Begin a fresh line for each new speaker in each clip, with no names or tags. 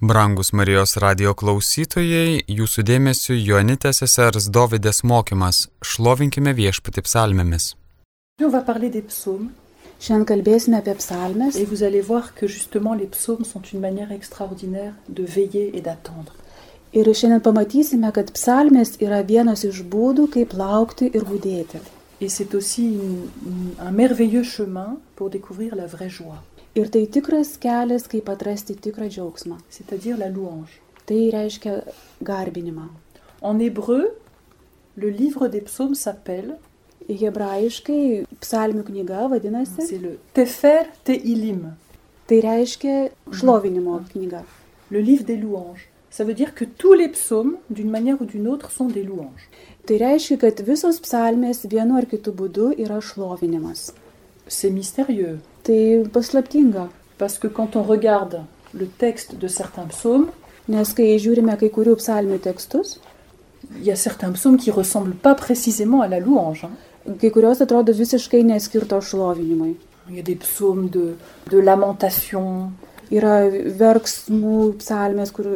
Brangus Marijos radio klausytojai, jūsų dėmesiu Jonitės sesers Dovydės mokymas Šlovinkime viešpatį psalmėmis.
On va parler des psaumes
Šiandien kalbėsime apie psalmes
et vous allez voir que justement les psaumes sont une manière extraordinaire de veiller et d'attendre.
ir šiandien pamatysime, kad psalmės yra vienas iš būdų, kaip laukti ir būdėti.
Et c'est aussi une- une- un merveilleux chemin pour découvrir la vraie joie,
Ir tai tikras kelias, kaip atrasti tikrą džiaugsmą.
c'est-à-dire la louange.
Tai reiškia garbinimą.
En hébreu, le livre des psaumes s'appelle,
Hebrajiškai psalmių knyga vadinasi,
c'est le Tefer Tehilim,
tai reiškia šlovinimo knyga.
le livre des louanges. Ça veut dire que tous les psaumes, d'une manière ou d'une autre, sont des louanges.
Tai reiškia, kad visos psalmės vienu ar kitu būdu yra šlovinimas.
C'est mystérieux,
Tai paslaptinga,
parce que quand on regarde le texte de certains psaumes,
nes kai žiūrime kai kurių psalmių tekstus,
il y a certains psaumes qui ressemblent pas précisément à la louange. hein.
kai kurios atrodo visiškai neskirto šlovinimui.
Il y a des psaumes de, de lamentation,
Yra verksmų psalmės, kur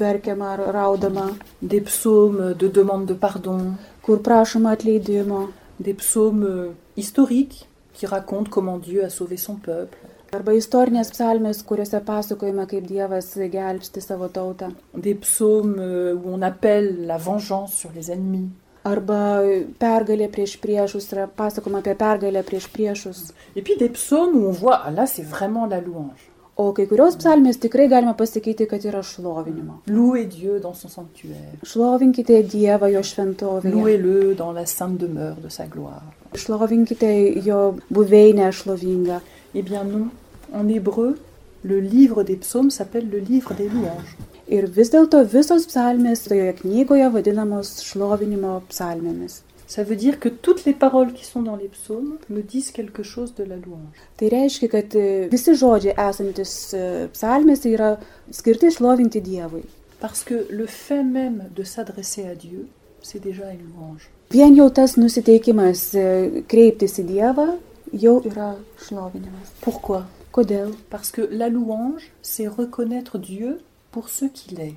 verkiama ar raudama,
des psaumes de demande de pardon,
kur prašoma atleidimo,
des psaumes euh, historiques qui racontent comment Dieu a sauvé son peuple,
arba istorinės psalmės, kuriuose pasakojama, kaip Dievas gelbsti savo tautą,
des psaumes euh, où on appelle la vengeance sur les ennemis.
arba pergalė prieš priešus, yra pasakojama apie pergalę prieš priešus.
Et puis des psaumes où on voit, ah là c'est vraiment la louange.
O kai kurios psalmės tikrai galima pasakyti, kad yra šlovinimo.
Louez Dieu dans son sanctuaire,
Šlovinkite Dievą jo šventovėje,
louez-le dans la sainte demeure de sa gloire.
šlovinkite jo buveinę šlovingą.
Eh bien non, en hébreu, le livre des psaumes s'appelle le livre des louanges.
Ir vis dėlto visos psalmės toje knygoje vadinamos šlovinimo psalmėmis.
Ça veut dire que toutes les paroles qui sont dans les psaumes me disent quelque chose de la louange.
Tai reiškia, kad e, visi žodžiai esantis e, psalmėse yra skirti šlovinti Dievui.
Parce que le fait même de s'adresser à Dieu, c'est déjà une louange.
Vien jau tas nusiteikimas e, kreiptis į Dievą jau yra šlovinimas.
Pourquoi
Kodėl?
Parce que la louange, c'est reconnaître Dieu pour ce qu'il est.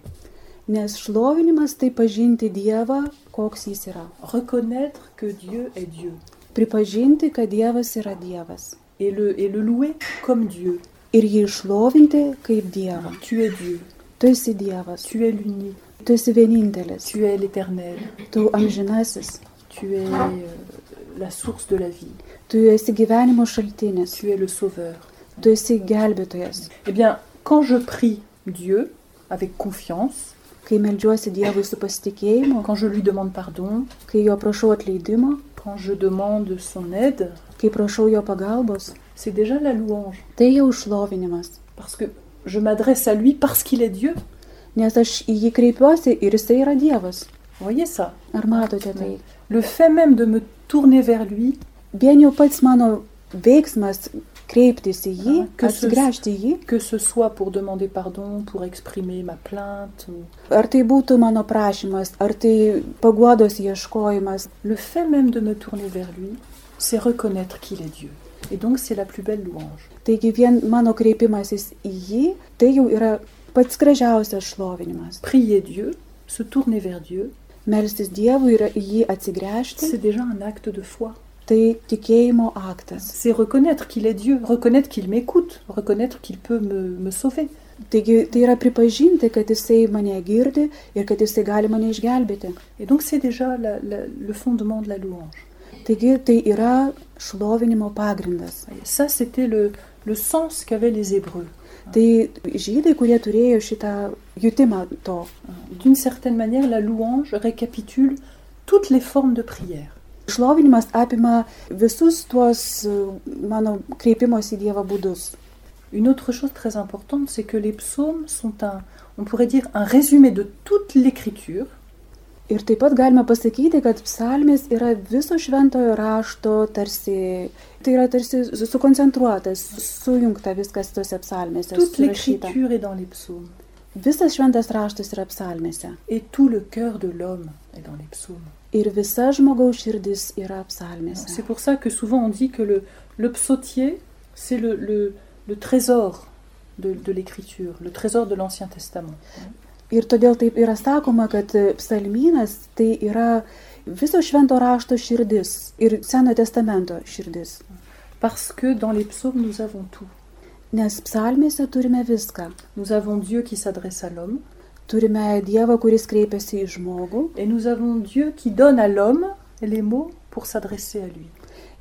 Nes šlovinimas tai pažinti Dievą, koks jis yra.
Reconnaître que Dieu est Dieu.
Pripažinti, kad Dievas yra Dievas.
Et le, et le louer comme Dieu.
Ir jį šlovinti kaip Dievą.
Tu es Dieu.
Tu esi Dievas.
Tu es l'unique.
Tu esi vienintelis.
Tu es l'éternel.
Tu amžinasis.
Tu es euh, la source de la vie.
Tu esi gyvenimo šaltinis,
Tu es le sauveur.
tu esi gelbėtojas.
Eh bien, quand je prie Dieu avec confiance,
Kai melžiuosi Dievui su pasitikėjimu,
quand je lui demande pardon,
kai jo prašau atleidimo,
quand je demande son aide,
kai prašau jo pagalbos,
c'est déjà la louange.
tai jau šlovinimas.
Parce que je m'adresse à lui parce qu'il est Dieu.
Nes aš į jį kreipiuosi ir jisai yra Dievas.
Vous voyez ça
Ar matote tai?
Le fait même de me tourner vers lui,
Vien jau pats mano veiksmas kreiptis į jį,
Kas jūs-
atsigręžti į jį,
que ce soit pour demander pardon, pour exprimer ma plainte, ou-
ar tai būtų mano prašymas, ar tai paguodos ieškojimas,
le fait même de me tourner vers lui, c'est reconnaître qu'il est Dieu. Et donc c'est la plus belle louange.
taigi vien mano kreipimasis į jį, tai jau yra pats gražiausias šlovinimas.
Prier Dieu, se tourner vers Dieu,
Melstis Dievui yra į jį atsigręžti,
c'est déjà un acte de foi.
tai tikėjimo aktas.
C'est reconnaître qu'il est Dieu, reconnaître qu'il m'écoute, reconnaître qu'il peut me, me sauver.
Taigi tai yra pripažinti, kad jisai mane girdi ir kad jisai gali mane išgelbėti.
Et donc c'est déjà la- la- le fondement de la louange.
Taigi tai yra šlovinimo pagrindas.
Voyez, Ça, c'était le, le sens qu'avaient les Hébreux.
Tai žydai, kurie turėjo šitą jutimą to.
D'une certaine manière, la louange récapitule toutes les formes de prière.
Šlovinimas apima visus tuos e, mano kreipimosi į Dievą būdus.
Une autre chose très importante, c'est que les psaumes sont un, on pourrait dire, un résumé de toute l'écriture,
Ir taip pat galime pasakyti, kad psalmės yra viso šventojo rašto tarsi, tai yra tarsi su- sukoncentruotas, sujungta viskas tose psalmėse.
toute
surašyta.
l'écriture est dans les psaumes.
Visas šventas raštas yra psalmėse.
Et tout le cœur de l'homme est dans les psaumes.
Ir visa žmogaus širdis yra psalmėse.
C'est pour ça que souvent on dit que le, le psautier, c'est le, le- le trésor de, de l'écriture, le trésor de l'Ancien Testament.
Ir todėl taip yra sakoma, kad psalmynas tai yra viso švento rašto širdis ir Senojo testamento širdis.
Parce que dans les psaumes, nous avons tout.
Nes psalmėse turime viską.
Nous avons Dieu qui s'adresse à l'homme,
Turime Dievą, kuris kreipiasi į žmogų
et nous avons Dieu qui donne à l'homme les mots pour s'adresser à lui.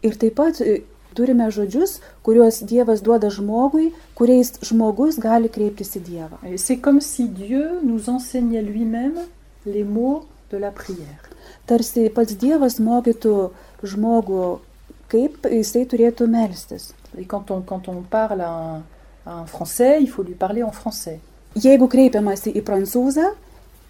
ir taip pat e, turime žodžius, kuriuos Dievas duoda žmogui, kuriais žmogus gali kreiptis į Dievą.
Et c'est comme si Dieu nous enseignait lui-même les mots de la prière.
Tarsi pats Dievas mokytų žmogų, kaip jisai turėtų melstis.
Et quand on, quand on parle à un, à un Français, il faut lui parler en français.
Jeigu kreipiamasi į prancūzą,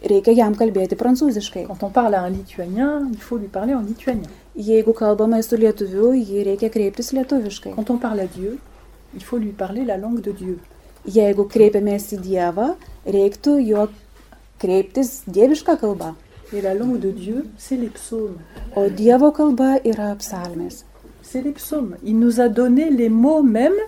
reikia jam kalbėti prancūziškai.
Quand on parle à un Lituanien, il faut lui parler en lituanien.
Jeigu kalbame su lietuviu, jį reikia kreiptis lietuviškai.
Quand on parle à Dieu, il faut lui parler la langue de Dieu.
Jeigu kreipiamės į Dievą, reiktų jo kreiptis dievišką kalbą.
Et la langue de Dieu, c'est les psaumes.
O Dievo kalba yra psalmės.
C'est les psaumes. Il nous a donné les mots mêmes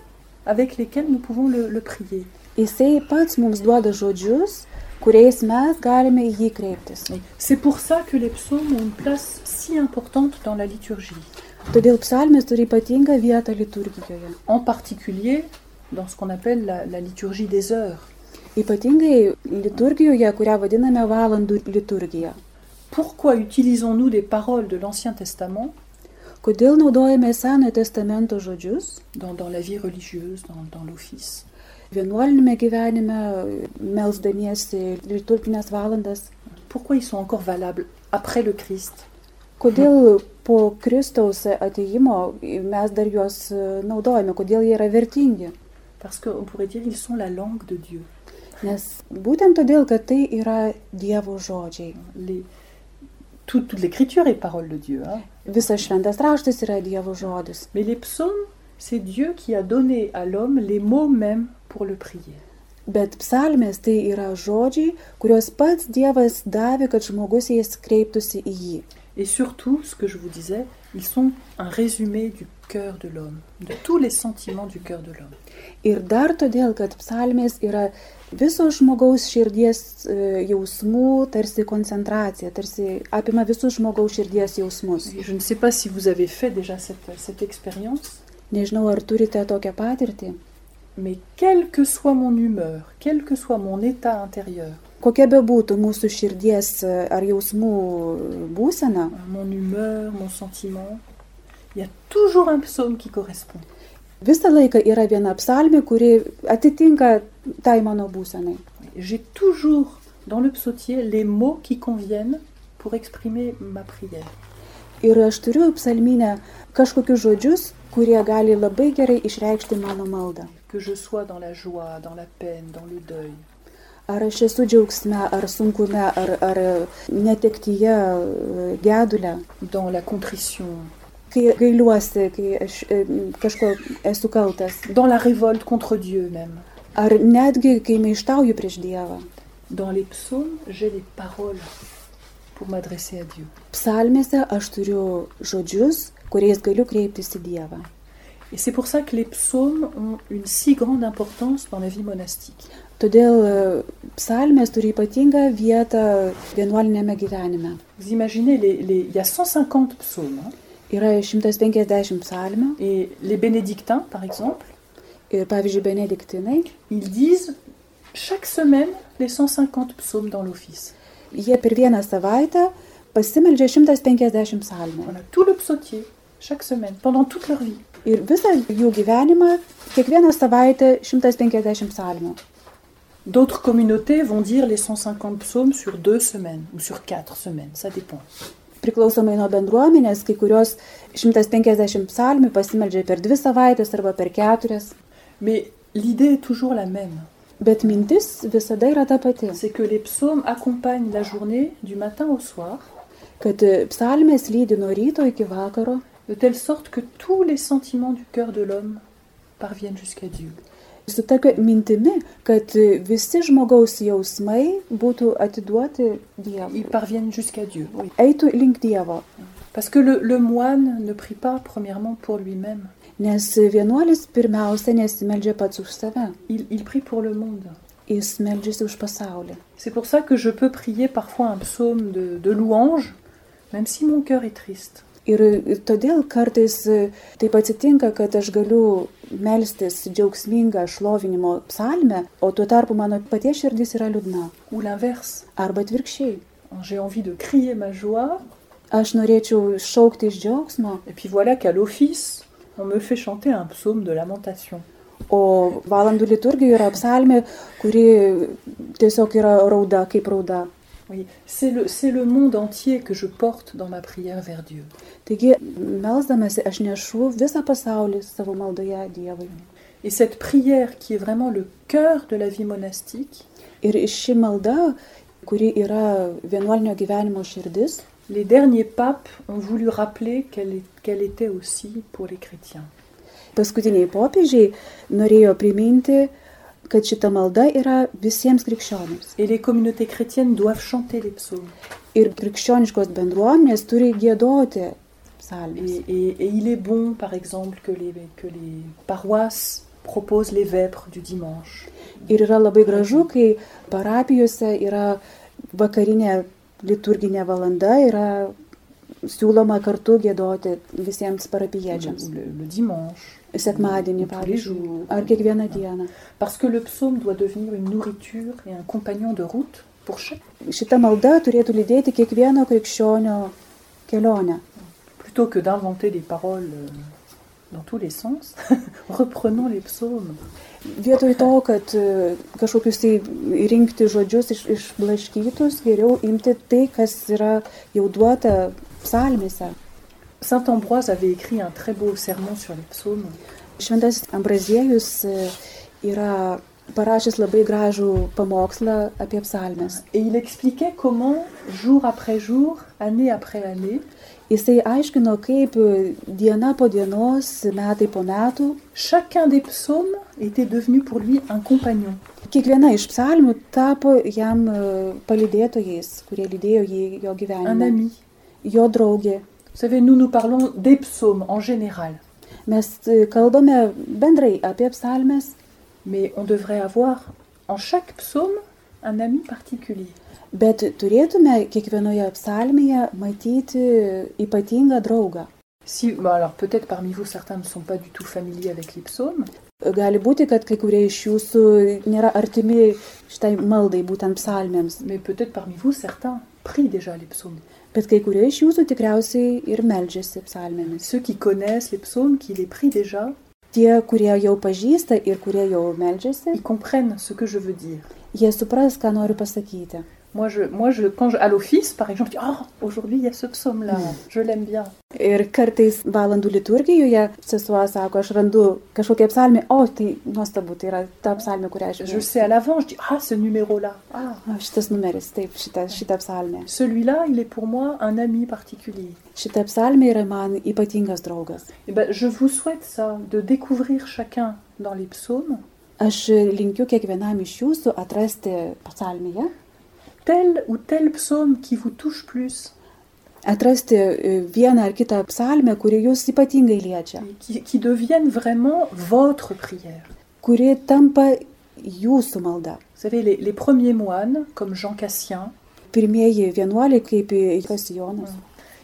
avec lesquels nous pouvons le, le prier.
Jisai pats mums duoda žodžius, kuriais mes galime į jį kreiptis.
C'est pour ça que les psaumes ont une place si importante dans la liturgie,
Todėl psalmės turi ypatingą vietą liturgijoje.
en particulier dans ce qu'on appelle la, la liturgie des heures.
Ypatingai liturgijoje, kurią vadiname valandų liturgija.
Pourquoi utilisons-nous des paroles de l'Ancien Testament
Kodėl naudojame Senojo testamento žodžius
dans, dans la vie religieuse, dans, dans l'office
vienuolinėme gyvenime, melzdamiesi liturginės valandas?
Pourquoi ils sont encore valables après le Christ
Kodėl po Kristaus ateimo mes dar juos e, naudojame, kodėl jie yra vertingi?
Parce qu'on pourrait dire ils sont la langue de Dieu.
Nes būtent todėl, kad tai yra Dievo žodžiai.
Les- Toute, toute l'écriture est parole de Dieu. hein.
Visas šventas raštas yra Dievo žodis.
Mais les psaumes, c'est Dieu qui a donné à l'homme les mots mêmes pour le prier.
Bet psalmės tai yra žodžiai, kuriuos pats Dievas davė, kad žmogus jais kreiptųsi į jį.
Et surtout, ce que je vous disais, ils sont un résumé du cœur de l'homme, de tous les sentiments du cœur de l'homme.
Ir dar todėl, kad psalmės yra viso žmogaus širdies e, jausmų tarsi koncentracija, tarsi apima visus žmogaus širdies jausmus.
Et je ne sais pas si vous avez fait déjà cette, cette expérience,
Nežinau, ar turite tokią patirtį.
mais quelle que soit mon humeur, quel que soit mon état intérieur,
Kokia bebūtų mūsų širdies e, ar jausmų būsena,
hein, mon humeur, mon sentiment, il y a toujours un psaume qui correspond.
visą laiką yra viena psalmė, kuri atitinka tai mano būsenai.
J'ai toujours dans le psautier les mots qui conviennent pour exprimer ma prière.
Ir aš turiu psalminę kažkokius žodžius, kurie gali labai gerai išreikšti mano maldą.
Que je sois dans la joie, dans la peine, dans le deuil.
Ar aš esu džiaugsme, ar sunkume, ar, ar netektyje, e, gedule.
dans la contrition,
Kai gailiuosi, kai aš e, kažko esu kaltas.
dans la révolte contre Dieu même.
Ar netgi, kai maištauju prieš Dievą.
Dans les psaumes, j'ai les paroles pour m'adresser à Dieu.
Psalmėse aš turiu žodžius, kuriais galiu kreiptis į Dievą.
Et c'est pour ça que les psaumes ont une si grande importance dans la vie monastique.
Todėl e, psalmės turi ypatingą vietą vienuolinėme gyvenime.
Vous imaginez, les, les- il y a 150 psaumes. hein,
Yra 150 psalmių
et les bénédictins, par exemple,
ir pavyzdžiui benediktinai,
ils disent chaque semaine les 150 psaumes dans l'office.
jie per vieną savaitę pasimeldžia 150 psalmių.
Voilà, tout le psautier, chaque semaine, pendant toute leur vie.
Ir visą jų gyvenimą kiekvieną savaitę 150 psalmių.
D'autres communautés vont dire les 150 psaumes sur deux semaines ou sur quatre semaines, ça dépend.
Priklausomai nuo bendruomenės, kai kurios 150 psalmių pasimeldžia per dvi savaitės arba per keturias.
Mais l'idée est toujours la même.
Bet mintis visada yra ta pati,
C'est que les psaumes accompagnent la journée du matin au soir,
kad e, psalmės lydi nuo ryto iki vakaro,
de telle sorte que tous les sentiments du cœur de l'homme parviennent jusqu'à Dieu.
su tokia mintimi, kad e, visi žmogaus jausmai būtų atiduoti Dievui.
Ils parviennent jusqu'à Dieu, oui.
Eitų link Dievo,
Parce que le, le moine ne prie pas premièrement pour lui-même.
Nes vienuolis pirmiausia nesimeldžia pats už save,
Il, il prie pour le monde.
jis meldžiasi už pasaulį.
C'est pour ça que je peux prier parfois un psaume de, de louange, même si mon cœur est triste.
Ir todėl kartais taip atsitinka, kad aš galiu melstis džiaugsmingą šlovinimo psalmę, o tuo tarpu mano paties širdis yra liūdna.
Ou l'inverse,
Arba atvirkščiai.
j'ai envie de crier ma joie,
Aš norėčiau šaukti iš džiaugsmo,
et puis voilà qu'à l'office, on me fait chanter un psaume de lamentation.
o valandų liturgijoje yra psalmė, kuri tiesiog yra rauda kaip rauda.
Oui, c'est le, c'est le monde entier que je porte dans ma prière vers Dieu.
Taigi, melzdamasi aš nešu visą pasaulį savo maldoje Dievui.
Et cette prière qui est vraiment le cœur de la vie monastique,
Ir ši malda, kuri yra vienuolinio gyvenimo širdis,
les derniers papes ont voulu rappeler qu'elle est- qu'elle était aussi pour les chrétiens.
paskutiniai popiežiai norėjo priminti, kad šita malda yra visiems krikščionims.
Et les communautés chrétiennes doivent chanter les psaumes.
Ir krikščioniškos bendruomenės turi gėdoti psalmės.
Et, et- et il est bon, par exemple, que les, que les paroisses proposent les vêpres du dimanche.
Ir yra labai gražu, kai parapijose yra vakarinė liturginė valanda, yra siūloma kartu gėdoti visiems
Ou
parapiečiams.
le, le dimanche. Tous les
Sekmadienį, pavyzdžiui,
jours.
ar kiekvieną dieną.
Parce que le psaume doit devenir une nourriture et un compagnon de route pour chaque.
Šita malda turėtų lydėti kiekvieno krikščionio kelionę.
Plutôt que d'inventer des paroles euh, dans tous les sens, reprenons les psaumes.
Vietoj to, kad e, kažkokius tai rinkti žodžius iš, išblaškytus, geriau imti tai, kas yra jau duota psalmėse.
Saint Ambroise avait écrit un très beau sermon sur les psaumes.
Šventasis Ambraziejus e, yra parašęs labai gražų pamokslą apie psalmes.
Et il expliquait comment, jour après jour, année après année,
Jisai aiškino, kaip e, diena po dienos, metai po metų,
chacun des psaumes était devenu pour lui un compagnon.
kiekviena iš psalmių tapo jam e, palydėtojais, kurie lydėjo jį jo
un
gyvenime,
ami.
jo draugė.
Vous savez, nous, nous parlons des psaumes en général,
Mes e, kalbame bendrai apie psalmes,
mais on devrait avoir en chaque psaume un ami particulier.
bet turėtume kiekvienoje psalmėje matyti ypatingą draugą.
Si, bah alors peut-être parmi vous, certains ne sont pas du tout familiers avec les psaumes,
Gali būti, kad kai kurie iš jūsų nėra artimi šitai maldai, būtent psalmėms,
mais peut-être parmi vous, certains prient déjà les psaumes.
bet kai kurie iš jūsų tikriausiai ir melžiasi psalmėmis.
Ceux qui connaissent les psaumes, qui les prient déjà,
Tie, kurie jau pažįsta ir kurie jau melžiasi,
ils comprennent ce que je veux dire.
jie supras, ką noriu pasakyti.
Moi, je, moi je, quand je, à l'office, par exemple, je dis Oh, aujourd'hui, il y a ce psaume-là, je l'aime bien.
Ir kartais valandų liturgijoje sesuo sako, aš randu kažkokią psalmę, o tai nuostabu, tai yra ta psalmė, kurią aš
Je
žinau.
sais à l'avant, je dis Ah, ce numéro-là, ah,
Šitas numeris, taip, šita, šita psalmė.
celui-là, il est pour moi un ami particulier.
Šita psalmė yra man ypatingas draugas.
Eh ben, je vous souhaite ça, de découvrir chacun dans les psaumes
Aš linkiu kiekvienam iš jūsų atrasti psalmėje,
tel ou tel psaume qui vous touche plus,
atrasti e, vieną ar kitą psalmę, kuri jūs ypatingai liečia,
et qui, qui devienne vraiment votre prière.
kuri tampa jūsų malda.
Vous savez, les, les premiers moines, comme Jean Cassien,
Pirmieji vienuoliai kaip Kasijonas.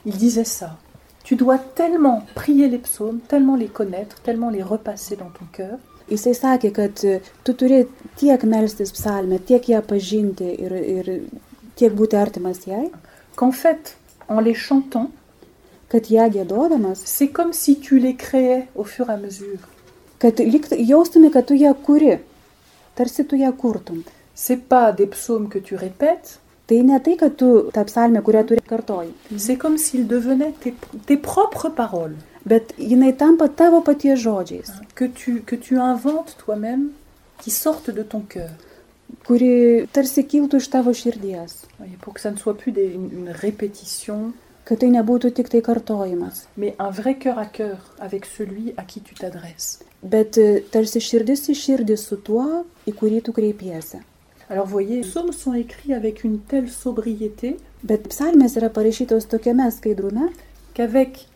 ils disaient ça. Tu dois tellement prier les psaumes, tellement les connaître, tellement les repasser dans ton cœur,
Jisai sakė, kad e, tu turi tiek melstis psalmę, tiek ją pažinti ir, ir tiek būti artimas jai,
qu'en fait, en les chantant,
kad ją gėdodamas,
c'est comme si tu les créais au fur et à mesure.
kad lyg jaustumi, kad tu ją kuri, tarsi tu ją kurtum.
C'est pas des psaumes que tu répètes,
Tai ne tai, kad tu tą psalmę, kurią turi kartoji,
c'est comme s'ils devenaient tes- tes propres paroles. hein,
bet jinai tampa tavo paties žodžiais,
que tu, que tu inventes toi-même, qui sortent de ton cœur.
kuri tarsi kiltų iš tavo širdies,
Et pour que ça ne soit plus des- une, une répétition,
kad tai nebūtų tik tai kartojimas,
mais un vrai cœur à cœur avec celui à qui tu t'adresses.
bet e, tarsi širdis į širdį su tuo, į kurį tu kreipiesi.
Alors voyez, les psaumes sont écrits avec une telle sobriété
Bet psalmės yra parašytos tokiame skaidrume,
qu'avec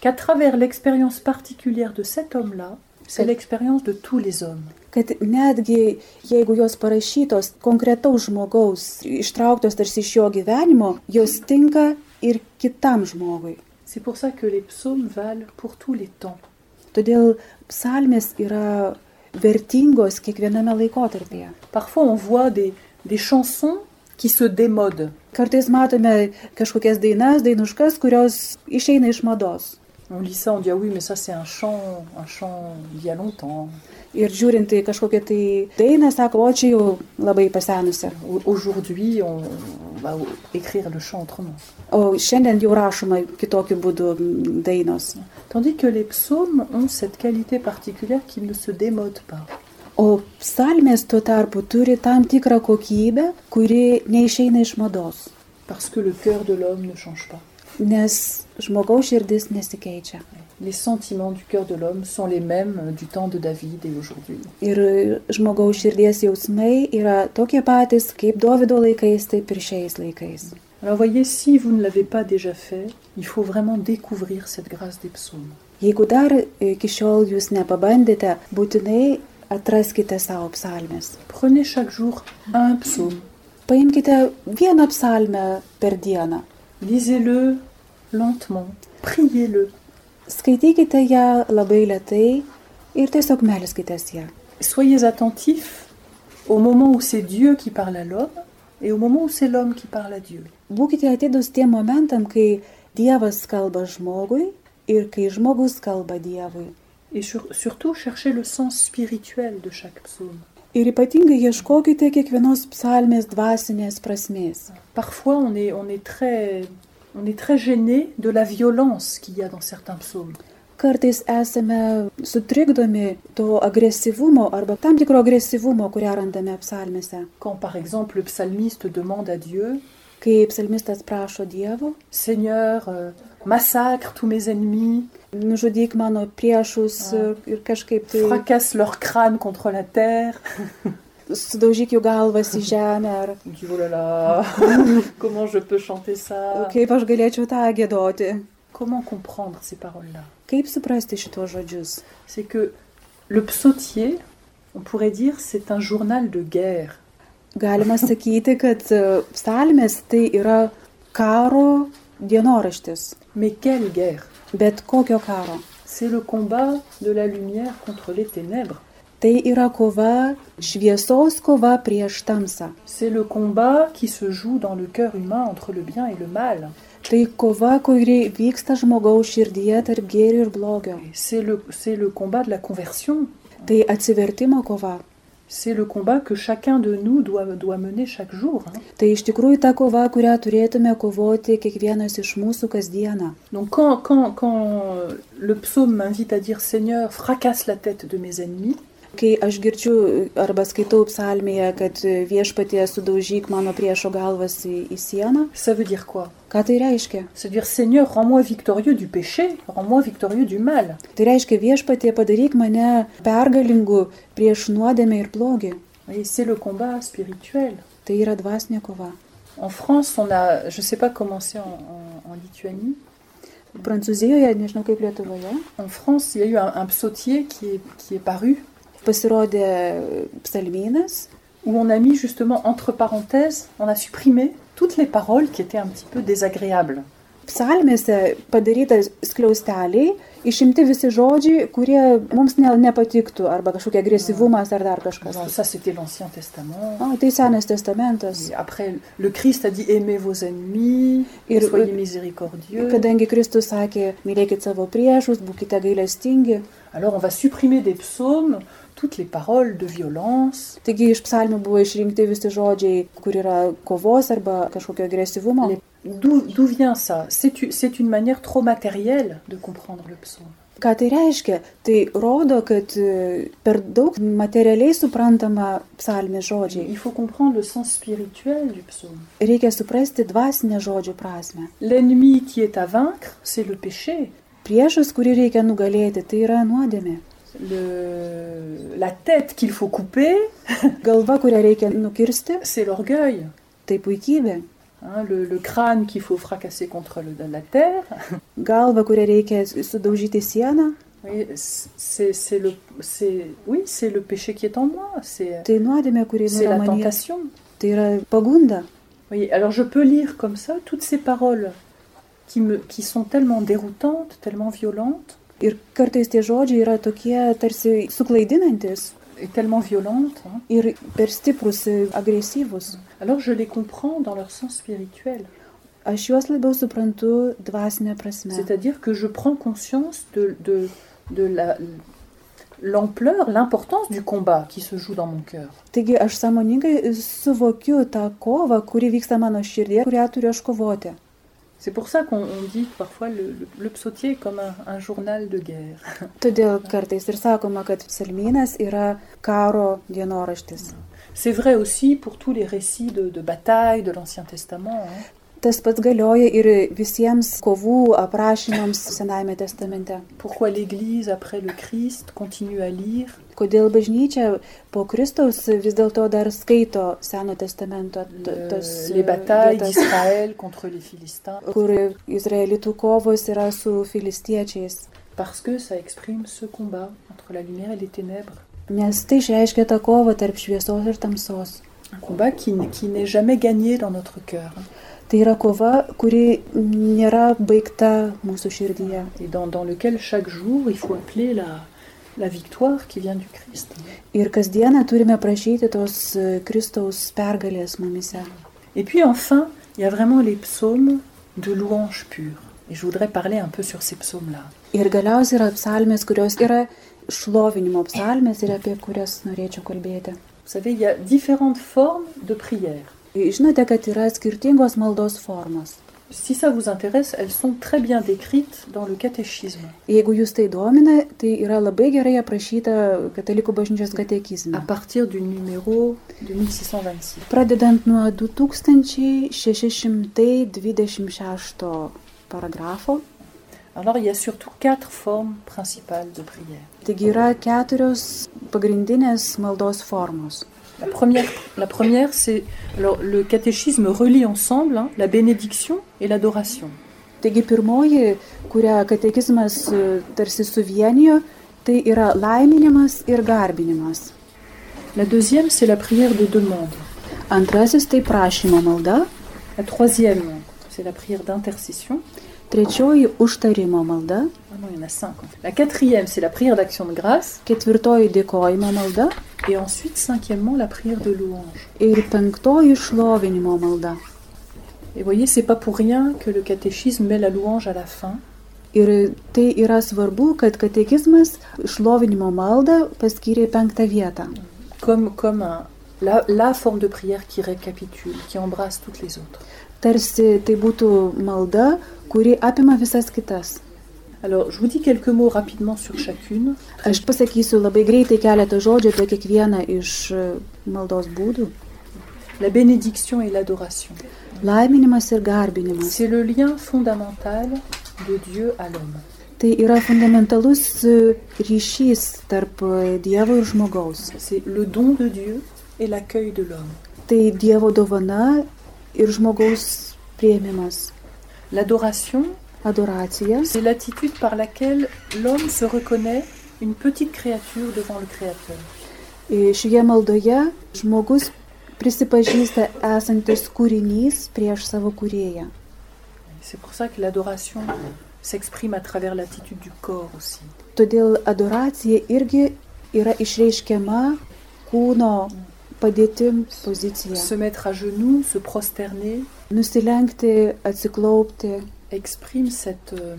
qu'à travers l'expérience particulière de cet homme-là, c'est
Kad-
l'expérience de tous les hommes.
Kad netgi jeigu jos parašytos konkretaus žmogaus, ištrauktos tarsi iš jo gyvenimo, jos tinka ir kitam žmogui.
C'est pour ça que les psaumes valent pour tous les temps.
Todėl psalmės yra vertingos kiekviename laikotarpyje.
Parfois, on voit des, des chansons qui se démodent.
Kartais matome kažkokias dainas, dainuškas, kurios išeina iš mados.
On lit ça, on dit ah oui, mais ça c'est un chant, un chant d'il y a longtemps.
Ir žiūrint į kažkokią tai dainą, sako, o čia jau labai pasenusi.
Au- Aujourd'hui, on on va o- écrire le chant autrement.
O šiandien jau rašoma kitokiu būdu mm, dainos.
Tandis que les psaumes ont cette qualité particulière qu'ils ne se démodent pas.
O psalmės tuo tarpu turi tam tikrą kokybę, kuri neišeina iš mados,
Parce que le cœur de l'homme ne change pas.
nes žmogaus širdis nesikeičia.
Les sentiments du cœur de l'homme sont les mêmes euh, du temps de David et aujourd'hui.
Ir žmogaus širdies jausmai yra tokie patys, kaip Davido laikais, taip ir šiais laikais.
Alors voyez, si vous ne l'avez pas déjà fait, il faut vraiment découvrir cette grâce des psaumes.
Jeigu dar iki šiol jūs nepabandėte, būtinai atraskite savo psalmės.
Prenez chaque jour un psaume.
Paimkite vieną psalmę per dieną,
Lisez-le lentement. Priez-le.
skaitykite ją labai lietai ir tiesiog melskitės ją.
Soyez attentifs au moment où c'est Dieu qui parle à l'homme et au moment où c'est l'homme qui parle à Dieu.
Būkite atidus tiem momentam, kai Dievas kalba žmogui ir kai žmogus kalba Dievui.
Et sur- surtout, cherchez le sens spirituel de chaque psaume.
Ir ypatingai ieškokite kiekvienos psalmės dvasinės prasmės.
Parfois, on est, on est très, on est très gêné de la violence qu'il y a dans certains psaumes.
Kartais esame sutrikdomi to agresyvumo arba tam tikro agresyvumo, kurią randame psalmėse.
Quand, par exemple, le psalmiste demande à Dieu
Kai psalmistas prašo Dievo,
Seigneur, euh, massacre tous mes ennemis,
nužudyk mano priešus
A.
ir- ir kažkaip tai
fracasse leur crâne contre la terre.
sudaužyk jų galvas į žemę, ar
On dit, oh là là, comment je peux chanter ça
kaip aš galėčiau tą gėdoti.
Comment comprendre ces paroles-là
Kaip suprasti šitos žodžius?
C'est que le psautier, on pourrait dire, c'est un journal de guerre.
Galima sakyti, kad e, psalmės tai yra karo dienoraštis,
Mais quelle guerre
bet kokio karo.
C'est le combat de la lumière contre les ténèbres.
Tai yra kova, šviesos kova prieš tamsą.
C'est le combat qui se joue dans le cœur humain entre le bien et le mal.
Tai kova, kuri vyksta žmogaus širdyje tarp gėrių ir blogio.
Et C'est le, c'est le combat de la conversion.
Tai atsivertimo kova.
C'est le combat que chacun de nous doit, doit mener chaque jour. hein.
Tai iš tikrųjų ta kova, kurią turėtume kovoti kiekvienas iš mūsų kasdieną.
Donc quand, quand, quand euh, le psaume m'invite à dire Seigneur, fracasse la tête de mes ennemis,
Kai aš girdžiu arba skaitau psalmėje, kad e, viešpatie sudaužyk mano priešo galvas į, į sieną,
ça veut dire quoi
ką tai reiškia?
C'est dire Seigneur, rends-moi victorieux du péché, rends-moi victorieux du mal.
Tai reiškia viešpatie padaryk mane pergalingu prieš nuodėmę ir blogį.
Et c'est le combat spirituel.
Tai yra dvasinė kova.
En France, on a, je ne sais pas comment c'est en, en- en Lituanie,
Prancūzijoje, nežinau kaip Lietuvoje,
en France, il y a eu un, un psautier qui est, qui est paru,
pasirodė psalmynas,
où on a mis justement entre parenthèses, on a supprimé toutes les paroles qui étaient un petit peu désagréables.
psalmėse padarytas skliausteliai, išimti visi žodžiai, kurie mums ne, nepatiktų, arba kažkokia agresyvumas ar dar kažkas.
Alors, ça, c'était l'Ancien Testament.
O, tai senas testamentas.
Et Après, le Christ a dit aimez vos ennemis,
Ir-
soyez miséricordieux.
Kadangi Kristus sakė, mylėkit savo priešus, būkite gailestingi,
Alors on va supprimer des psaumes toutes les paroles de violence,
taigi iš psalmių buvo išrinkti visi žodžiai, kur yra kovos arba kažkokio agresyvumo.
Les- D'où d'où vient ça C'est u- c'est une manière trop matérielle de comprendre le psaume.
Ką tai reiškia? Tai rodo, kad e, per daug materialiai suprantama psalmės žodžiai.
Il faut comprendre le sens spirituel du psaume.
Reikia suprasti dvasinę žodžių prasme.
L'ennemi qui est à vaincre, c'est le péché.
Priešas, kurį reikia nugalėti, tai yra nuodėmė.
Le- La tête qu'il faut couper,
Galva, kurią reikia nukirsti,
c'est l'orgueil.
tai puikybė.
hein, le, le crâne qu'il faut fracasser contre le- la terre.
galva, kurią reikia sudaužyti į sieną,
Oui, c'est c'est le, c'est- oui, c'est le péché qui est en moi, c'est
tai nuodėmė, kuri
c'est
yra
la
manyje,
tentation.
tai yra pagunda.
Oui, alors je peux lire comme ça toutes ces paroles qui, me, qui sont tellement déroutantes, tellement violentes,
Ir kartais tie žodžiai yra tokie tarsi suklaidinantis
et tellement violentes. hein.
ir per stiprus, agresyvus.
Alors je les comprends dans leur sens spirituel.
Aš juos labiau suprantu dvasinę prasme.
C'est-à-dire que je prends conscience de, de, de la- l'ampleur, l'importance du combat qui se joue dans mon cœur.
Taigi aš sąmoningai suvokiu tą kovą, kuri vyksta mano širdie, kurią turiu aš kovoti.
C'est pour ça qu'on on dit parfois le, le, le psautier est comme un, un journal de guerre.
Todėl kartais ir sakoma, kad psalmynas yra karo dienoraštis.
C'est vrai aussi pour tous les récits de, de batailles de l'Ancien Testament. hein.
Tas pats galioja ir visiems kovų aprašymams Senajame testamente.
Pourquoi l'Église, après le Christ, continue à lire
Kodėl bažnyčia po Kristaus vis dėlto dar skaito Seno testamento t-
le-
tas
les
e,
batailles
vietas,
d'Israël contre les Philistins
kur izraelitų kovos yra su filistiečiais.
Parce que ça exprime ce combat entre la lumière et les ténèbres.
Nes tai išreiškia tą kovą tarp šviesos ir tamsos.
Un combat qui, n- qui n'est jamais gagné dans notre cœur.
Tai yra kova, kuri nėra baigta mūsų širdyje
et dans, dans lequel chaque jour il faut appeler la, la victoire qui vient du Christ.
ir kasdieną turime prašyti tos e, Kristaus pergalės mumise.
Et puis enfin, il y a vraiment les psaumes de louange pure. Et je voudrais parler un peu sur ces psaumes-là.
Ir galiausiai yra psalmės, kurios yra šlovinimo psalmės ir apie kurias norėčiau kalbėti.
Vous savez, il y a différentes formes de prière.
Žinote, kad yra skirtingos maldos formos.
Si ça vous intéresse, elles sont très bien décrites dans le catéchisme.
Jeigu jūs tai domina, tai yra labai gerai aprašyta Katalikų bažnyčios
À
katekizme.
partir du numéro 2626.
Pradedant nuo 2626 paragrafo,
Alors, il y a surtout quatre formes principales de prière.
Taigi yra keturios pagrindinės maldos formos.
La première, la première c'est. Alors, le catéchisme relie ensemble hein, la bénédiction et l'adoration.
Taigi pirmoji, kurią katekizmas e, tarsi suvienijo, tai yra laiminimas ir garbinimas.
La deuxième, c'est la prière de demande.
Antrasis tai prašymo malda,
La troisième, c'est la prière d'intercession.
trečioji užtarimo malda,
Ah non, il y en a cinq. en fait. La quatrième, c'est la prière d'action de grâce.
ketvirtoji dėkojimo malda
Et ensuite, cinquièmement, la prière de louange.
ir penktoji šlovinimo malda.
Et voyez, c'est pas pour rien que le catéchisme met la louange à la fin.
Ir tai yra svarbu, kad katekizmas šlovinimo maldą paskyrė penktą vietą.
Comme, comme un- la, la forme de prière qui récapitule, qui embrasse toutes les autres.
Tarsi tai būtų malda, kuri apima visas kitas.
Alors, je vous dis quelques mots rapidement sur chacune.
Aš pasakysiu labai greitai keletą žodžių apie kiekvieną iš e, maldos būdų.
La bénédiction et l'adoration.
Laiminimas ir garbinimas.
C'est le lien fondamental de Dieu à l'homme.
Tai yra fundamentalus e, ryšys tarp e, Dievo ir žmogaus.
C'est le don de Dieu et l'accueil de l'homme.
Tai Dievo dovana ir žmogaus prieimimas.
L'adoration,
Adoracija.
c'est l'attitude par laquelle l'homme se reconnaît une petite créature devant le Créateur.
E, Šioje maldoje žmogus prisipažįsta esantis kūrinys prieš savo kūrėją.
C'est pour ça que l'adoration s'exprime à travers l'attitude du corps aussi.
Todėl adoracija irgi yra išreiškiama kūno padėtim pozicija.
Se mettre à genoux, se prosterner,
Nusilenkti, atsiklaupti,
exprime cette, euh,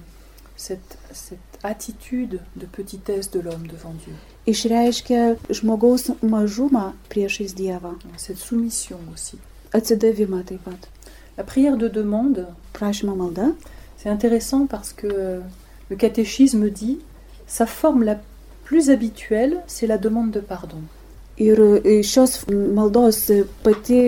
cette, cette attitude de petitesse de l'homme devant Dieu,
išreiškia žmogaus mažumą priešais Dievą.
cette soumission aussi.
Atsidavimą taip pat.
La prière de demande,
Prašymo malda.
C'est intéressant parce que euh, le catéchisme dit sa forme la plus habituelle, c'est la demande de pardon.
Ir e, šios maldos pati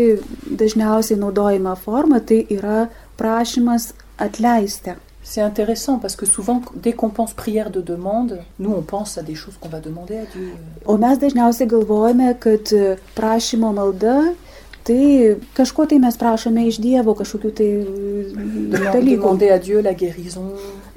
dažniausiai naudojama forma tai yra prašymas atleisti.
C'est intéressant parce que souvent, dès qu'on pense prière de demande, nous on pense à des choses qu'on va demander à Dieu.
O mes dažniausiai galvojame, kad prašymo e, malda tai kažko tai mes prašome iš Dievo, kažkokių tai dalykų.
Demander à Dieu la guérison.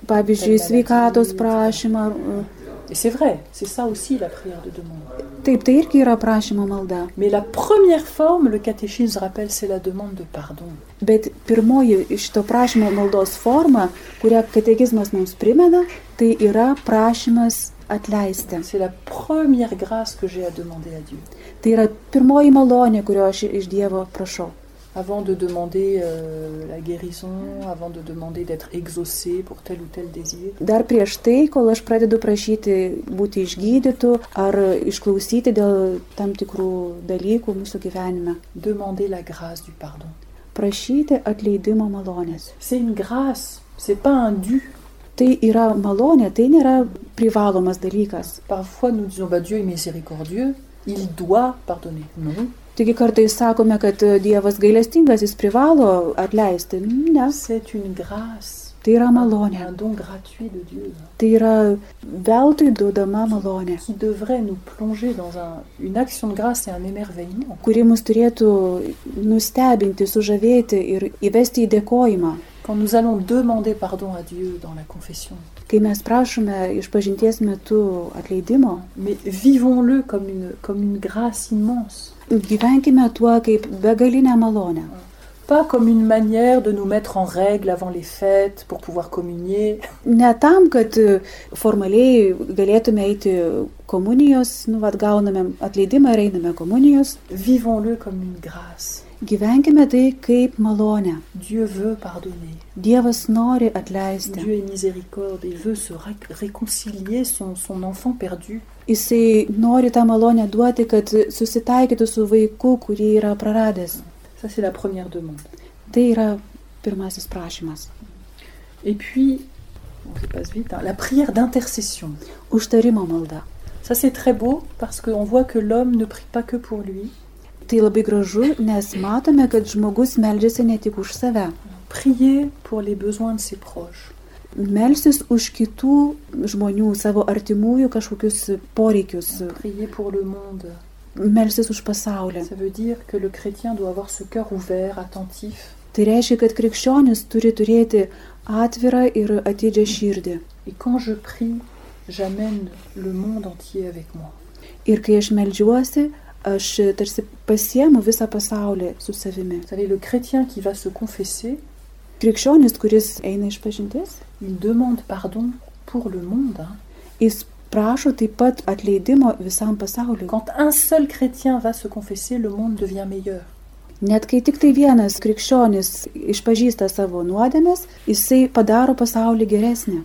Tai Pavyzdžiui, sveikatos prašymą. e,
Et c'est vrai, c'est ça aussi la prière de demande.
Taip, tai irgi yra prašymo malda.
Mais la première forme, le catéchisme rappelle, c'est la demande de pardon.
Bet pirmoji iš šito prašymo maldos forma, kurią katekizmas mums primena, tai yra prašymas atleisti.
C'est la première grâce que j'ai à demander à Dieu.
Tai yra pirmoji malonė, kurio aš iš Dievo prašau.
Avant de demander euh, la guérison, avant de demander d'être exaucé pour tel ou tel désir.
Dar prieš tai, kol aš pradedu prašyti būti išgydytų ar išklausyti dėl tam tikrų dalykų mūsų gyvenime,
Demander la grâce du pardon.
prašyti atleidimo malonės.
C'est une grâce, c'est pas un dû.
Tai yra malonė, tai nėra privalomas dalykas.
Parfois nous disons bah Dieu est miséricordieux, il doit pardonner. Non,
Taigi kartais sakome, kad e, Dievas gailestingas, jis privalo atleisti. Ne,
Ah, c'est une grâce,
tai yra
un
malonė.
don gratuit de Dieu hein,
Tai yra veltui duodama malonė,
qui devrait nous plonger dans un- une action de grâce et un émerveillement.
kuri mus turėtų nustebinti, sužavėti ir įvesti į dėkojimą.
Quand nous allons demander pardon à Dieu dans la confession,
Kai mes prašome iš pažinties metu atleidimo,
mais vivons-le comme une, comme une grâce immense,
gyvenkime tuo kaip begalinę malonę.
pas comme une manière de nous mettre en règle avant les fêtes pour pouvoir communier.
Ne tam, kad e, formaliai galėtume eiti komunijos, nu, atgauname atleidimą ir einame komunijos,
Vivons-le comme une grâce.
Gyvenkime tai kaip malonę.
Dieu veut pardonner.
Dievas nori atleisti.
Dieu est miséricorde et veut se ré- réconcilier son, son enfant perdu.
Jisai nori tą malonę duoti, kad susitaikytų su vaiku, kurį yra praradęs.
Ça, c'est la première demande.
Tai yra pirmasis prašymas.
Et puis, bon, je passe vite, hein, la prière d'intercession.
Užtarimo malda.
Ça, c'est très beau parce qu'on voit que l'homme ne prie pas que pour lui.
Tai labai gražu, nes matome, kad žmogus meldžiasi ne tik už save.
Prier pour les besoins de ses proches.
Melsis už kitų žmonių, savo artimųjų kažkokius poreikius.
Prier pour le monde.
Melsis už pasaulį.
Ça veut dire que le chrétien doit avoir ce cœur ouvert, attentif.
Tai reiškia, kad krikščionis turi turėti atvirą ir atidžią širdį.
Et quand je prie, j'amène le monde entier avec moi.
Ir kai aš melžiuosi, aš tarsi pasiemu visą pasaulį su savimi.
Vous savez, le chrétien qui va se confesser,
Krikščionis, kuris eina iš pažinties,
il demande pardon pour le monde. hein.
jis prašo taip pat atleidimo visam pasauliu.
Quand un seul chrétien va se confesser, le monde devient meilleur.
Net kai tik tai vienas krikščionis išpažįsta savo nuodėmes, jisai padaro pasaulį geresnį.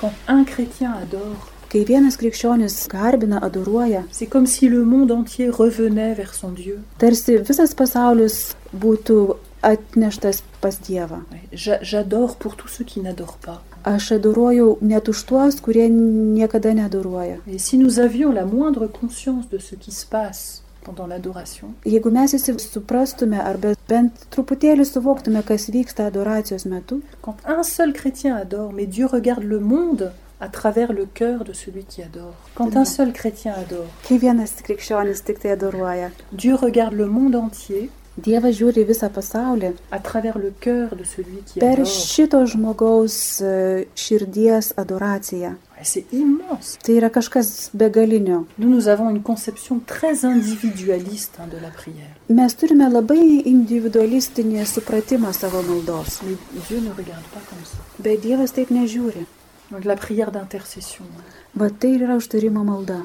Quand un chrétien adore,
Kai vienas krikščionis garbina, adoruoja,
c'est comme si le monde entier revenait vers son Dieu.
tarsi visas pasaulis būtų atneštas pas Dievą.
Ouais, j'a- J'adore pour tous ceux qui n'adorent pas.
Aš adoruoju net už tuos, kurie niekada neadoruoja.
Et si nous avions la moindre conscience de ce qui se passe pendant l'adoration,
Jeigu mes visi suprastume arba bent truputėlį suvoktume, kas vyksta adoracijos metu,
quand un seul chrétien adore, mais Dieu regarde le monde à travers le cœur de celui qui adore. Quand un seul chrétien adore,
kai vienas krikščionis tik tai adoruoja,
Dieu regarde le monde entier
Dievas žiūri į visą pasaulį
à travers le cœur de celui qui
per
adore.
šito žmogaus e, širdies adoraciją.
Ouais, C'est immense.
Tai yra kažkas begalinio.
Nous, nous avons une conception très individualiste hein, de la prière.
Mes turime labai individualistinį supratimą savo maldos,
Mais Dieu ne regarde pas comme ça.
bet Dievas taip nežiūri.
Donc la prière d'intercession, hein.
Va tai ir yra užtarimo malda,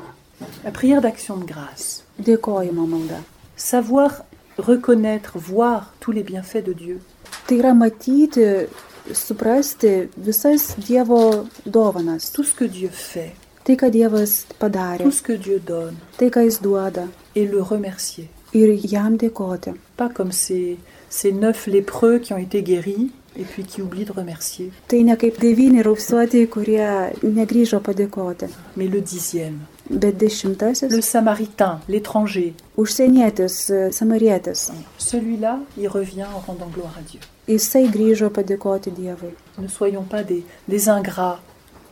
la prière d'action de grâce.
dėkojimo malda.
Savoir reconnaître, voir tous les bienfaits de Dieu.
Tai yra matyti, suprasti visas Dievo dovanas.
Tout ce que Dieu fait,
tai, ką Dievas padarė,
tout ce que Dieu donne,
tai, ką Jis duoda
et le remercier.
ir jam dėkoti.
Pas comme ces, ces neuf lépreux qui ont été guéris et puis qui oublient de remercier,
Tai ne kaip devyni raupsuotieji, kurie negryžo padėkoti,
mais le dixième.
bet dešimtasis
Le samaritain, l'étranger.
užsienietis, e, samarietis,
Celui-là, il revient en rendant gloire à Dieu.
jisai grįžo padėkoti Dievui.
Ne soyons pas des, des ingrats,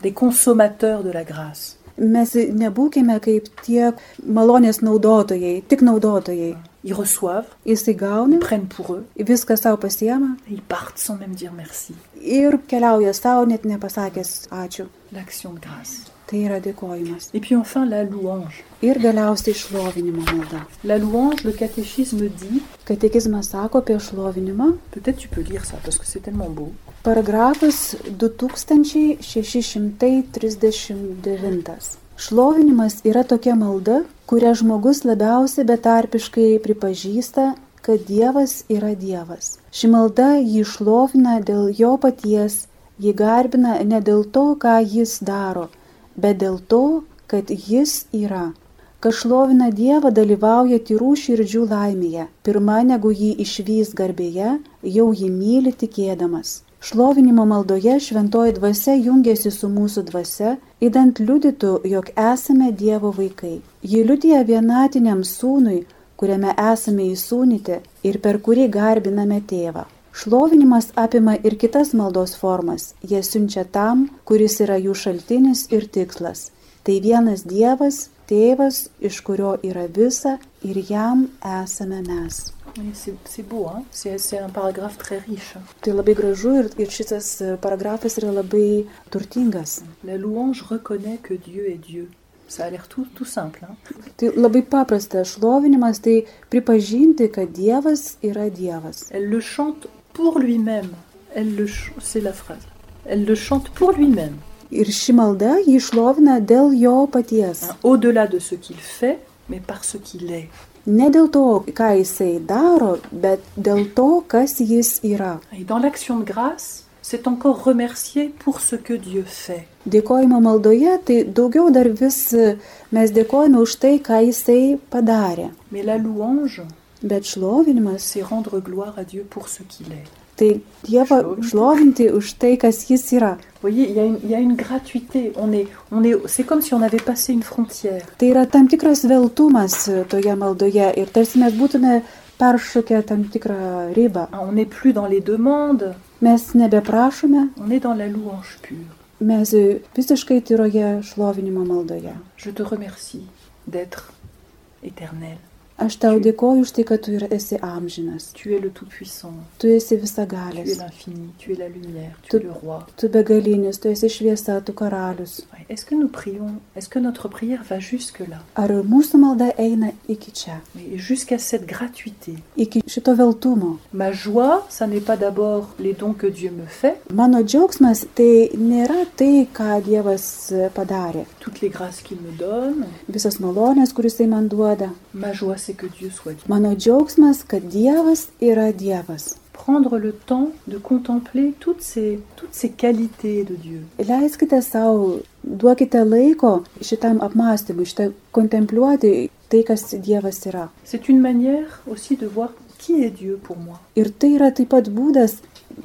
des consommateurs de la grâce.
Mes nebūkime kaip tie malonės naudotojai, tik naudotojai,
Ils reçoivent,
Jisai
ils
gauna,
prennent pour eux
viską savo pasiema
et ils partent sans même dire merci.
ir keliauja savo, net nepasakęs ačiū.
L'action de grâce.
Tai yra dėkojimas.
Et puis enfin la louange.
Ir galiausiai šlovinimo malda.
La louange, le catéchisme dit,
Katekizmas sako apie šlovinimą.
peut-être tu peux lire ça parce que c'est tellement beau.
Paragrafas 2639. Šlovinimas yra tokia malda, kurią žmogus labiausiai betarpiškai pripažįsta, kad Dievas yra Dievas. Ši malda jį šlovina dėl jo paties, jį garbina ne dėl to, ką jis daro, bet dėl to, kad jis yra. Kas šlovina Dievą dalyvauja tyrų širdžių laimėje, pirma negu jį išvys garbėje, jau jį myli tikėdamas. Šlovinimo maldoje šventoji dvasia jungiasi su mūsų dvasia, įdant liudytų, jog esame Dievo vaikai. Ji liudija vienatiniam sūnui, kuriame esame įsūnyti ir per kurį garbiname tėvą. Šlovinimas apima ir kitas maldos formas, jie siunčia tam, kuris yra jų šaltinis ir tikslas. Tai vienas Dievas, tėvas, iš kurio yra visa ir jam esame mes.
Oui, c'est- c'est beau, hein c'est c'est un paragraphe très riche. hein.
Tai labai gražu ir, ir šitas e, paragrafas yra labai turtingas.
La louange reconnaît que Dieu est Dieu. Ça a l'air tout, tout simple. hein.
Tai labai paprastas šlovinimas, tai pripažinti, kad Dievas yra Dievas.
Elle le chante pour lui-même. Elle le ch- c'est la phrase. Elle le chante pour lui-même.
Ir ši malda jį šlovina dėl jo paties.
hein, Au-delà de ce qu'il fait, mais par ce qu'il est.
Ne dėl to, ką jisai daro, bet dėl to, kas jis yra.
Et dans l'action de grâce, c'est encore remercier pour ce que Dieu fait.
Dėkojimo maldoje, tai daugiau dar vis e, mes dėkojame už tai, ką jisai padarė.
Mais la louange,
Bet šlovinimas,
c'est rendre gloire à Dieu pour ce qu'il est.
tai Dievą
Šlovinti.
šlovinti už tai, kas jis yra.
Vous voyez, il y a une, il y a une gratuité. On est, on est, c'est comme si on avait passé une frontière.
Tai yra tam tikras veltumas e, toje maldoje ir tarsi mes būtume peršokę tam tikrą ribą.
hein, On n'est plus dans les demandes,
Mes nebeprašome,
on est dans la louange pure.
mes e, visiškai tyroje šlovinimo maldoje.
Je te remercie d'être éternel.
Aš tau dėkoju už tai, kad tu ir esi amžinas.
Tu es le Tout-Puissant,
Tu esi
tu es
visagalis.
l'infini, tu es la lumière, tu
Tout-
es le roi.
Tu begalinis, tu esi šviesa, tu karalius.
Ouais. Est-ce que nous prions Est-ce que notre prière va jusque-là
Ar mūsų malda eina iki čia,
Et jusqu'à cette gratuité
iki šito veltumo?
Ma joie, ça n'est pas d'abord les dons que Dieu me fait,
Mano džiaugsmas tai nėra tai, ką Dievas e, padarė.
toutes les grâces qu'il me donne.
Visas malonės, kuris jisai man duoda.
Ma joie, c'est que Dieu soit Dieu.
Mano džiaugsmas, kad Dievas yra Dievas.
Prendre le temps de contempler toutes ces, toutes ces qualités de Dieu.
Leiskite savo, duokite laiko šitam apmąstymui, šitai kontempliuoti tai, kas Dievas yra.
C'est une manière aussi de voir qui est Dieu pour moi.
Ir tai yra taip pat būdas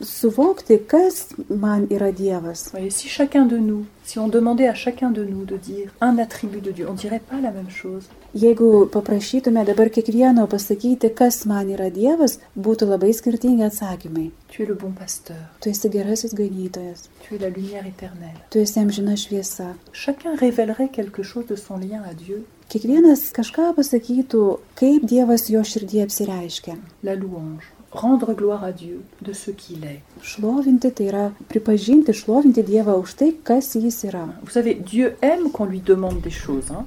suvokti, kas man yra Dievas.
Vous voyez, si chacun de nous, si on demandait à chacun de nous de dire un attribut de Dieu, on ne dirait pas la même chose.
Jeigu paprašytume dabar kiekvieno pasakyti, kas man yra Dievas, būtų labai skirtingi atsakymai.
Tu es le bon pasteur,
Tu esi gerasis ganytojas,
tu es la lumière éternelle.
tu esi amžina šviesa.
Chacun révélerait quelque chose de son lien à Dieu,
Kiekvienas kažką pasakytų, kaip Dievas jo širdį apsireiškia.
la louange. Rendre gloire à Dieu de ce qu'il est.
Šlovinti tai yra pripažinti, šlovinti Dievą už tai, kas jis yra.
Vous savez, Dieu aime qu'on lui demande des choses. hein.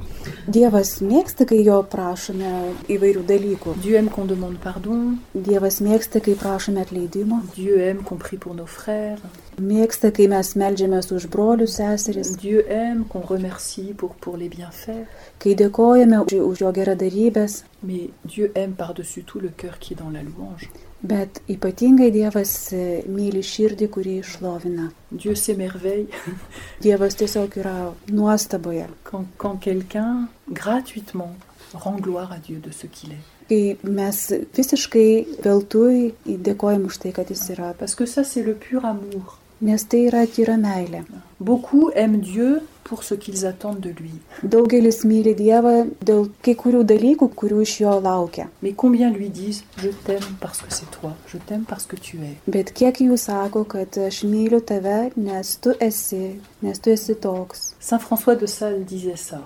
Dievas mėgsta, kai jo prašome įvairių dalykų.
Dieu aime qu'on demande pardon.
Dievas mėgsta, kai prašome atleidimo.
Dieu aime qu'on prie pour nos frères.
Mėgsta, kai mes melžiamės už brolius, seseris.
Dieu aime qu'on remercie pour, pour les bienfaits.
Kai dėkojame už, už jo geradarybės.
Mais Dieu aime par-dessus tout le cœur qui est dans la louange.
Bet ypatingai Dievas e, myli širdį, kurį išlovina.
Dieu s'émerveille
Dievas tiesiog yra nuostaboje.
quand, quand quelqu'un, gratuitement, rend gloire à Dieu de ce qu'il est.
Kai mes visiškai veltui dėkojame už tai, kad jis yra.
Parce que ça, c'est le pur amour.
Nes tai yra tyra meilė.
Beaucoup aiment Dieu pour ce qu'ils attendent de lui.
Daugelis myli Dievą dėl kai kurių dalykų, kurių iš jo laukia.
Mais combien lui disent ⁇ Je t'aime parce que c'est toi, je t'aime parce que tu es
Bet kiek jų sako, kad aš myliu tave, nes tu esi, nes tu esi toks.
⁇ Saint François de Sales disait ça.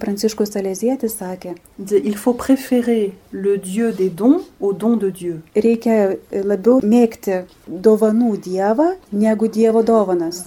Pranciškus Salezietis sakė,
Il disait, Il faut préférer le Dieu des dons au don de Dieu.
reikia labiau mėgti dovanų Dievą negu Dievo dovanas.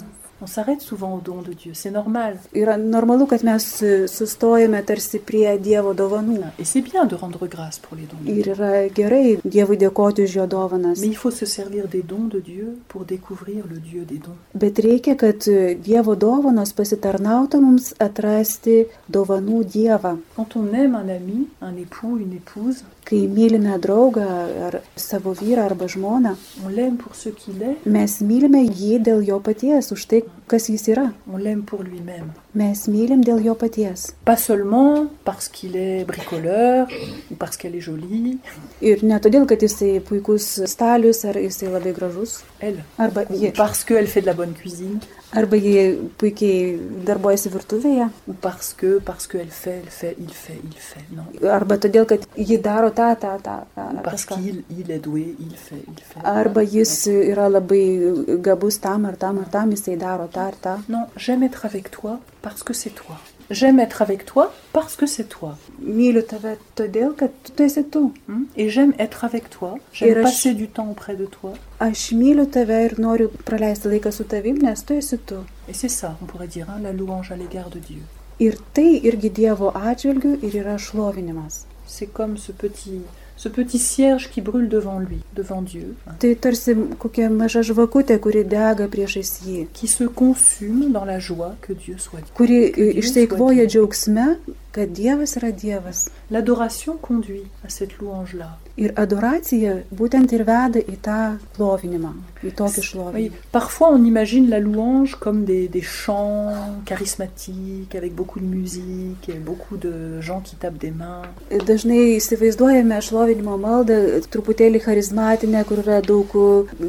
On s'arrête souvent au don de Dieu, c'est normal.
Yra normalu, kad mes e, sustojame tarsi prie Dievo dovanų.
Et c'est bien de rendre grâce pour les dons. de Dieu.
Ir yra gerai Dievui dėkoti už jo dovanas.
Mais il faut se servir des dons de Dieu pour découvrir le Dieu des dons.
Bet reikia, kad e, Dievo dovanos pasitarnautų mums atrasti dovanų Dievą.
Quand on aime un ami, un époux, une épouse,
Kai mylime draugą ar savo vyrą arba žmoną,
on l'aime pour ce qu'il est,
mes mylime jį dėl jo paties, už tai, kas jis yra.
on l'aime pour lui-même.
Mes mylim dėl jo paties.
Pas seulement parce qu'il est bricoleur ou parce qu'elle est jolie,
Ir ne todėl, kad jisai puikus stalius, ar jisai labai gražus,
elle,
arba
ou
ji,
parce qu'elle fait de la bonne cuisine,
arba ji puikiai darbuojasi virtuvėje,
ou parce que, parce qu'elle fait, elle fait, il fait, il fait, non.
arba todėl, kad ji daro tą, tą, tą, tą.
Ou
ar
parce
kažką.
qu'il il est doué, il fait, il fait.
Ah, Arba jis yra labai gabus tam ar tam ar tam, jisai daro tą ar tą.
Non, j'aime être avec toi parce que c'est toi. J'aime être avec toi parce que c'est toi.
Myliu tave todėl, kad tu esi tu.
Hmm Et j'aime être avec toi. J'aime
Et
passer
je-
du temps auprès de toi.
Aš myliu tave ir noriu praleisti laiką su tavim, nes tu esi tu.
Et c'est ça, on pourrait dire, hein, la louange à l'égard de Dieu.
Ir tai irgi Dievo atžvilgių ir yra šlovinimas.
C'est comme ce petit, ce petit cierge qui brûle devant lui, devant Dieu, hein,
Tai tarsi kokia maža žvakutė, kuri dega priešais jį,
qui se consume dans la joie que Dieu soit Dieu.
kuri i, išseikvoja džiaugsme, kad Dievas yra Dievas.
L'adoration conduit à cette louange-là.
Ir adoracija būtent ir veda į tą plovinimą, į tokį
Oui,
šlovinimą.
parfois, on imagine la louange comme des, des chants charismatiques, avec beaucoup de musique, et beaucoup de gens qui tapent des mains.
Dažnai įsivaizduojame šlovinimo maldą truputėlį charizmatinę, kur yra daug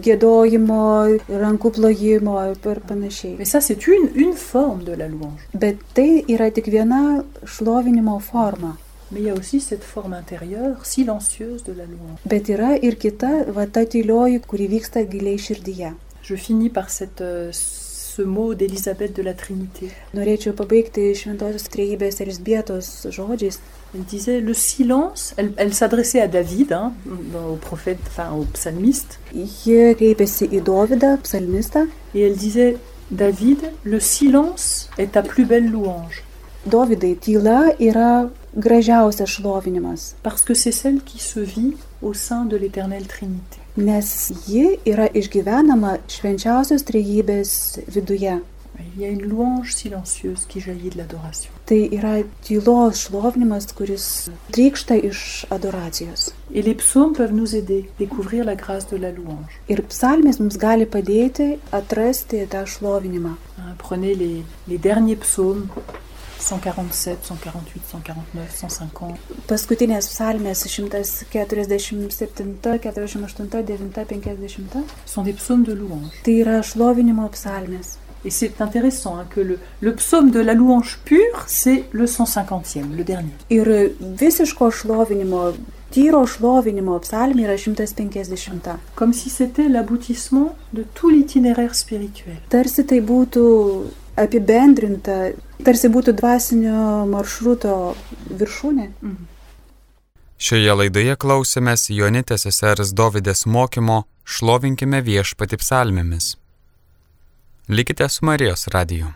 gėdojimo, rankų plojimo ir
Mais
panašiai.
ça, c'est une, une forme de la louange.
Bet tai yra tik viena šlovinimo forma.
Mais il y a aussi cette forme intérieure, silencieuse de la louange.
Bet yra ir kita, va ta tylioji, kuri vyksta giliai širdyje.
Je finis par cette, euh, ce mot d'Élisabeth de la Trinité.
Norėčiau pabaigti šventosios trejybės Elisbietos žodžiais.
Elle disait le silence, elle, elle s'adressait à David, hein, dans- au prophète, enfin au psalmiste,
Ji kreipėsi į Dovydą, psalmistą.
et elle disait David, le silence est ta plus belle louange,
Dovydai, tyla yra gražiausias šlovinimas,
parce que c'est celle qui se vit au sein de l'éternelle Trinité.
nes ji yra išgyvenama švenčiausios trejybės viduje.
Il y a une louange silencieuse qui jaillit de l'adoration.
Tai yra tylos šlovinimas, kuris trykšta iš adoracijos.
Et les psaumes peuvent nous aider à découvrir la grâce de la louange.
Ir psalmės mums gali padėti atrasti tą šlovinimą.
Hein, Prenez les, les derniers psaumes 147, 148, 149, 150.
Paskutinės psalmės 147, 48, 9, 50.
Ce sont des psaumes de louange.
Tai yra šlovinimo psalmės.
Et c'est intéressant hein, que le, le psaume de la louange pure, c'est le 150e, le dernier.
Ir visiško šlovinimo, tyro šlovinimo psalmė yra 150.
Comme si c'était l'aboutissement de tout l'itinéraire spirituel.
Tarsi tai būtų apibendrinta, tarsi būtų dvasinio maršruto viršūnė.
Šioje laidoje klausėmės Jonitės sesers Dovydės mokymo Šlovinkime viešpati psalmėmis. Likite su Marijos radiju.